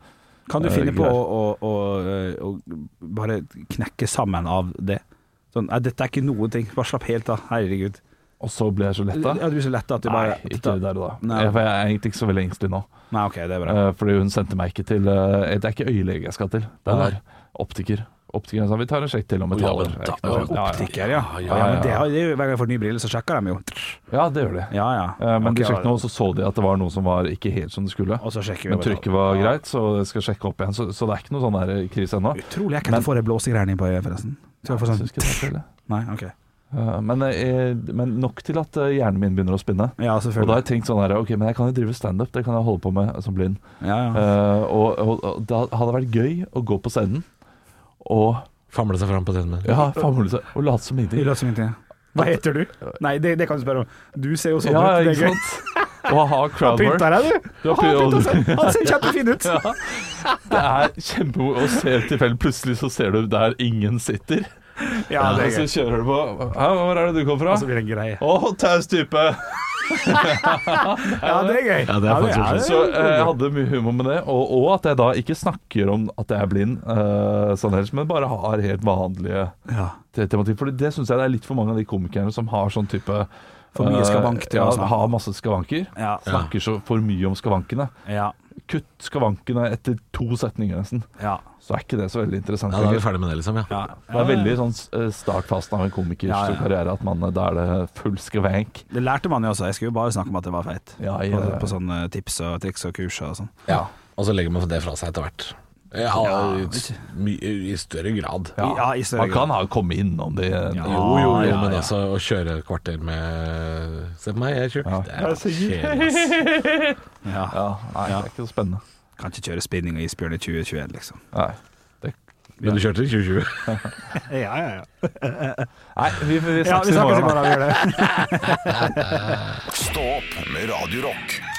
S4: Kan du
S5: Eh,
S4: finne på
S5: greier.
S4: å, å, å, eh, å bare knekke sammen av det? Sånn, nei, dette er ikke noen ting. Bare slapp helt av. Herregud.
S5: Og så ble jeg så letta.
S4: Ja, du er så letta at du
S5: Nei,
S4: bare
S5: ikke der og da.
S4: Nei.
S5: Jeg, for jeg er egentlig ikke så veldig engstelig nå.
S4: Nei, OK, det er bra.
S5: Eh, Fordi hun sendte meg ikke til eh, Det er ikke øyelege jeg skal til, det er optiker. Optikeren sa vi tar en sjekk til om et
S6: Å, ja,
S5: halvt år.
S6: men
S5: Jeg er
S6: da-
S5: ikke noe sånn. Ja, ja.
S4: Altså, Optiker, ja.
S6: Ja,
S4: ja,
S6: ja,
S4: men
S5: ja.
S4: det, har- det er jo, hver gang jeg får nye briller, så sjekker de jo.
S5: Ja, det gjør de.
S4: Ja, ja.
S5: Eh, Men de
S4: Ok,
S5: sjekket nå, og så så de at det var noe som var ikke helt som det skulle.
S4: Og så sjekker vi
S5: Men
S4: bare.
S5: trykket var greit, så jeg skal sjekke opp igjen. Så, så det er ikke noe sånn der krise ennå.
S4: Utrolig ekkelt å få det blåsegreiene inn på øyet, forresten. Skal jeg få
S5: Så
S4: sånn
S5: skal jeg ta til det.
S4: Nei, OK.
S5: Eh, Men, eh, men nok til at eh, hjernen min begynner å spinne.
S4: Ja,
S5: Og da
S4: selvfølgelig.
S5: har jeg tenkt sånn her, ok, men jeg kan jo drive standup, det kan jeg holde på med som blind.
S4: Ja, ja.
S5: Eh, og, og, og da hadde det vært gøy å gå på scenen og
S6: Famle seg fram på den med.
S5: ja, famle seg og late som
S4: Vi
S5: ingenting.
S4: låter som ingenting. Hva heter du? Nei, det, det kan du spørre om. Du ser jo sånn
S5: Ja,
S4: ut. Det er
S5: ikke
S4: gøy.
S5: sant?
S4: [LAUGHS]
S5: Og ha crowdwork.
S4: Pynta deg, du.
S5: Du har
S4: Han
S5: pynta
S4: pynta seg. Han ser kjempefin ut.
S5: Det er kjempemoro å se tilfeldig. Plutselig så ser du der ingen sitter.
S4: Ja, det
S5: Og
S4: er
S5: så
S4: gøy. Altså,
S5: kjører du på. Hæ, hvor er det du kommer
S4: Og så
S5: fra?
S4: blir det en greie.
S5: Å, taus type!
S4: Ja, det er gøy.
S6: Ja, det er faktisk
S4: ja, det
S5: Så eh, jeg hadde mye humor med det, og, og at jeg da ikke snakker om at jeg er blind, eh, sånn ellers, men bare har helt vanlige
S4: Ja.
S5: te- tematikk. For det syns jeg det er litt for mange av de komikerne som har sånn type
S4: For mye
S5: eh,
S4: skavank til
S5: ja,
S4: å snakke om.
S5: Har masse skavanker.
S4: Ja.
S5: Snakker så for mye om skavankene.
S4: Ja.
S5: Kutt skavankene etter to setninger, nesten.
S4: Ja.
S5: Så er ikke det så veldig interessant.
S6: Ja, da er vi
S5: lenger.
S6: ferdig med det, liksom. ja.
S5: det er veldig sånn eh, startfasen av en komikers
S4: Ja, ja.
S5: karriere at man, eh, da er det full skavank.
S4: Det lærte man jo også. Jeg skulle jo bare snakke om at jeg var feit.
S5: Ja,
S4: På-
S5: ja, ja.
S4: På sånne tips og triks og kurs og sånn.
S6: Ja, og så legger man det fra seg etter hvert. Ja, i,
S4: ikke-
S6: my, I større grad.
S4: Ja. i større
S5: man kan ha komme innom det. eh,
S4: Ja.
S6: Jo, jo, jo,
S4: Ja,
S6: men
S4: ja.
S6: altså å kjøre et kvarter med Se på meg, jeg er tjukk. Det er kjedelig, ass.
S4: Ja.
S5: Ja, nei, det er ikke så spennende.
S4: Kan ikke kjøre spinning og isbjørn i 2021, liksom.
S5: Nei. Det
S6: Men du kjørte i 2020.
S4: Ja, ja, ja.
S5: Nei, vi, vi
S4: ja
S5: snakkes
S4: vi
S5: i
S4: snakkes i
S5: morgen. da.
S4: morgen. Vi gjør det.
S1: Stå opp med Radio Rock.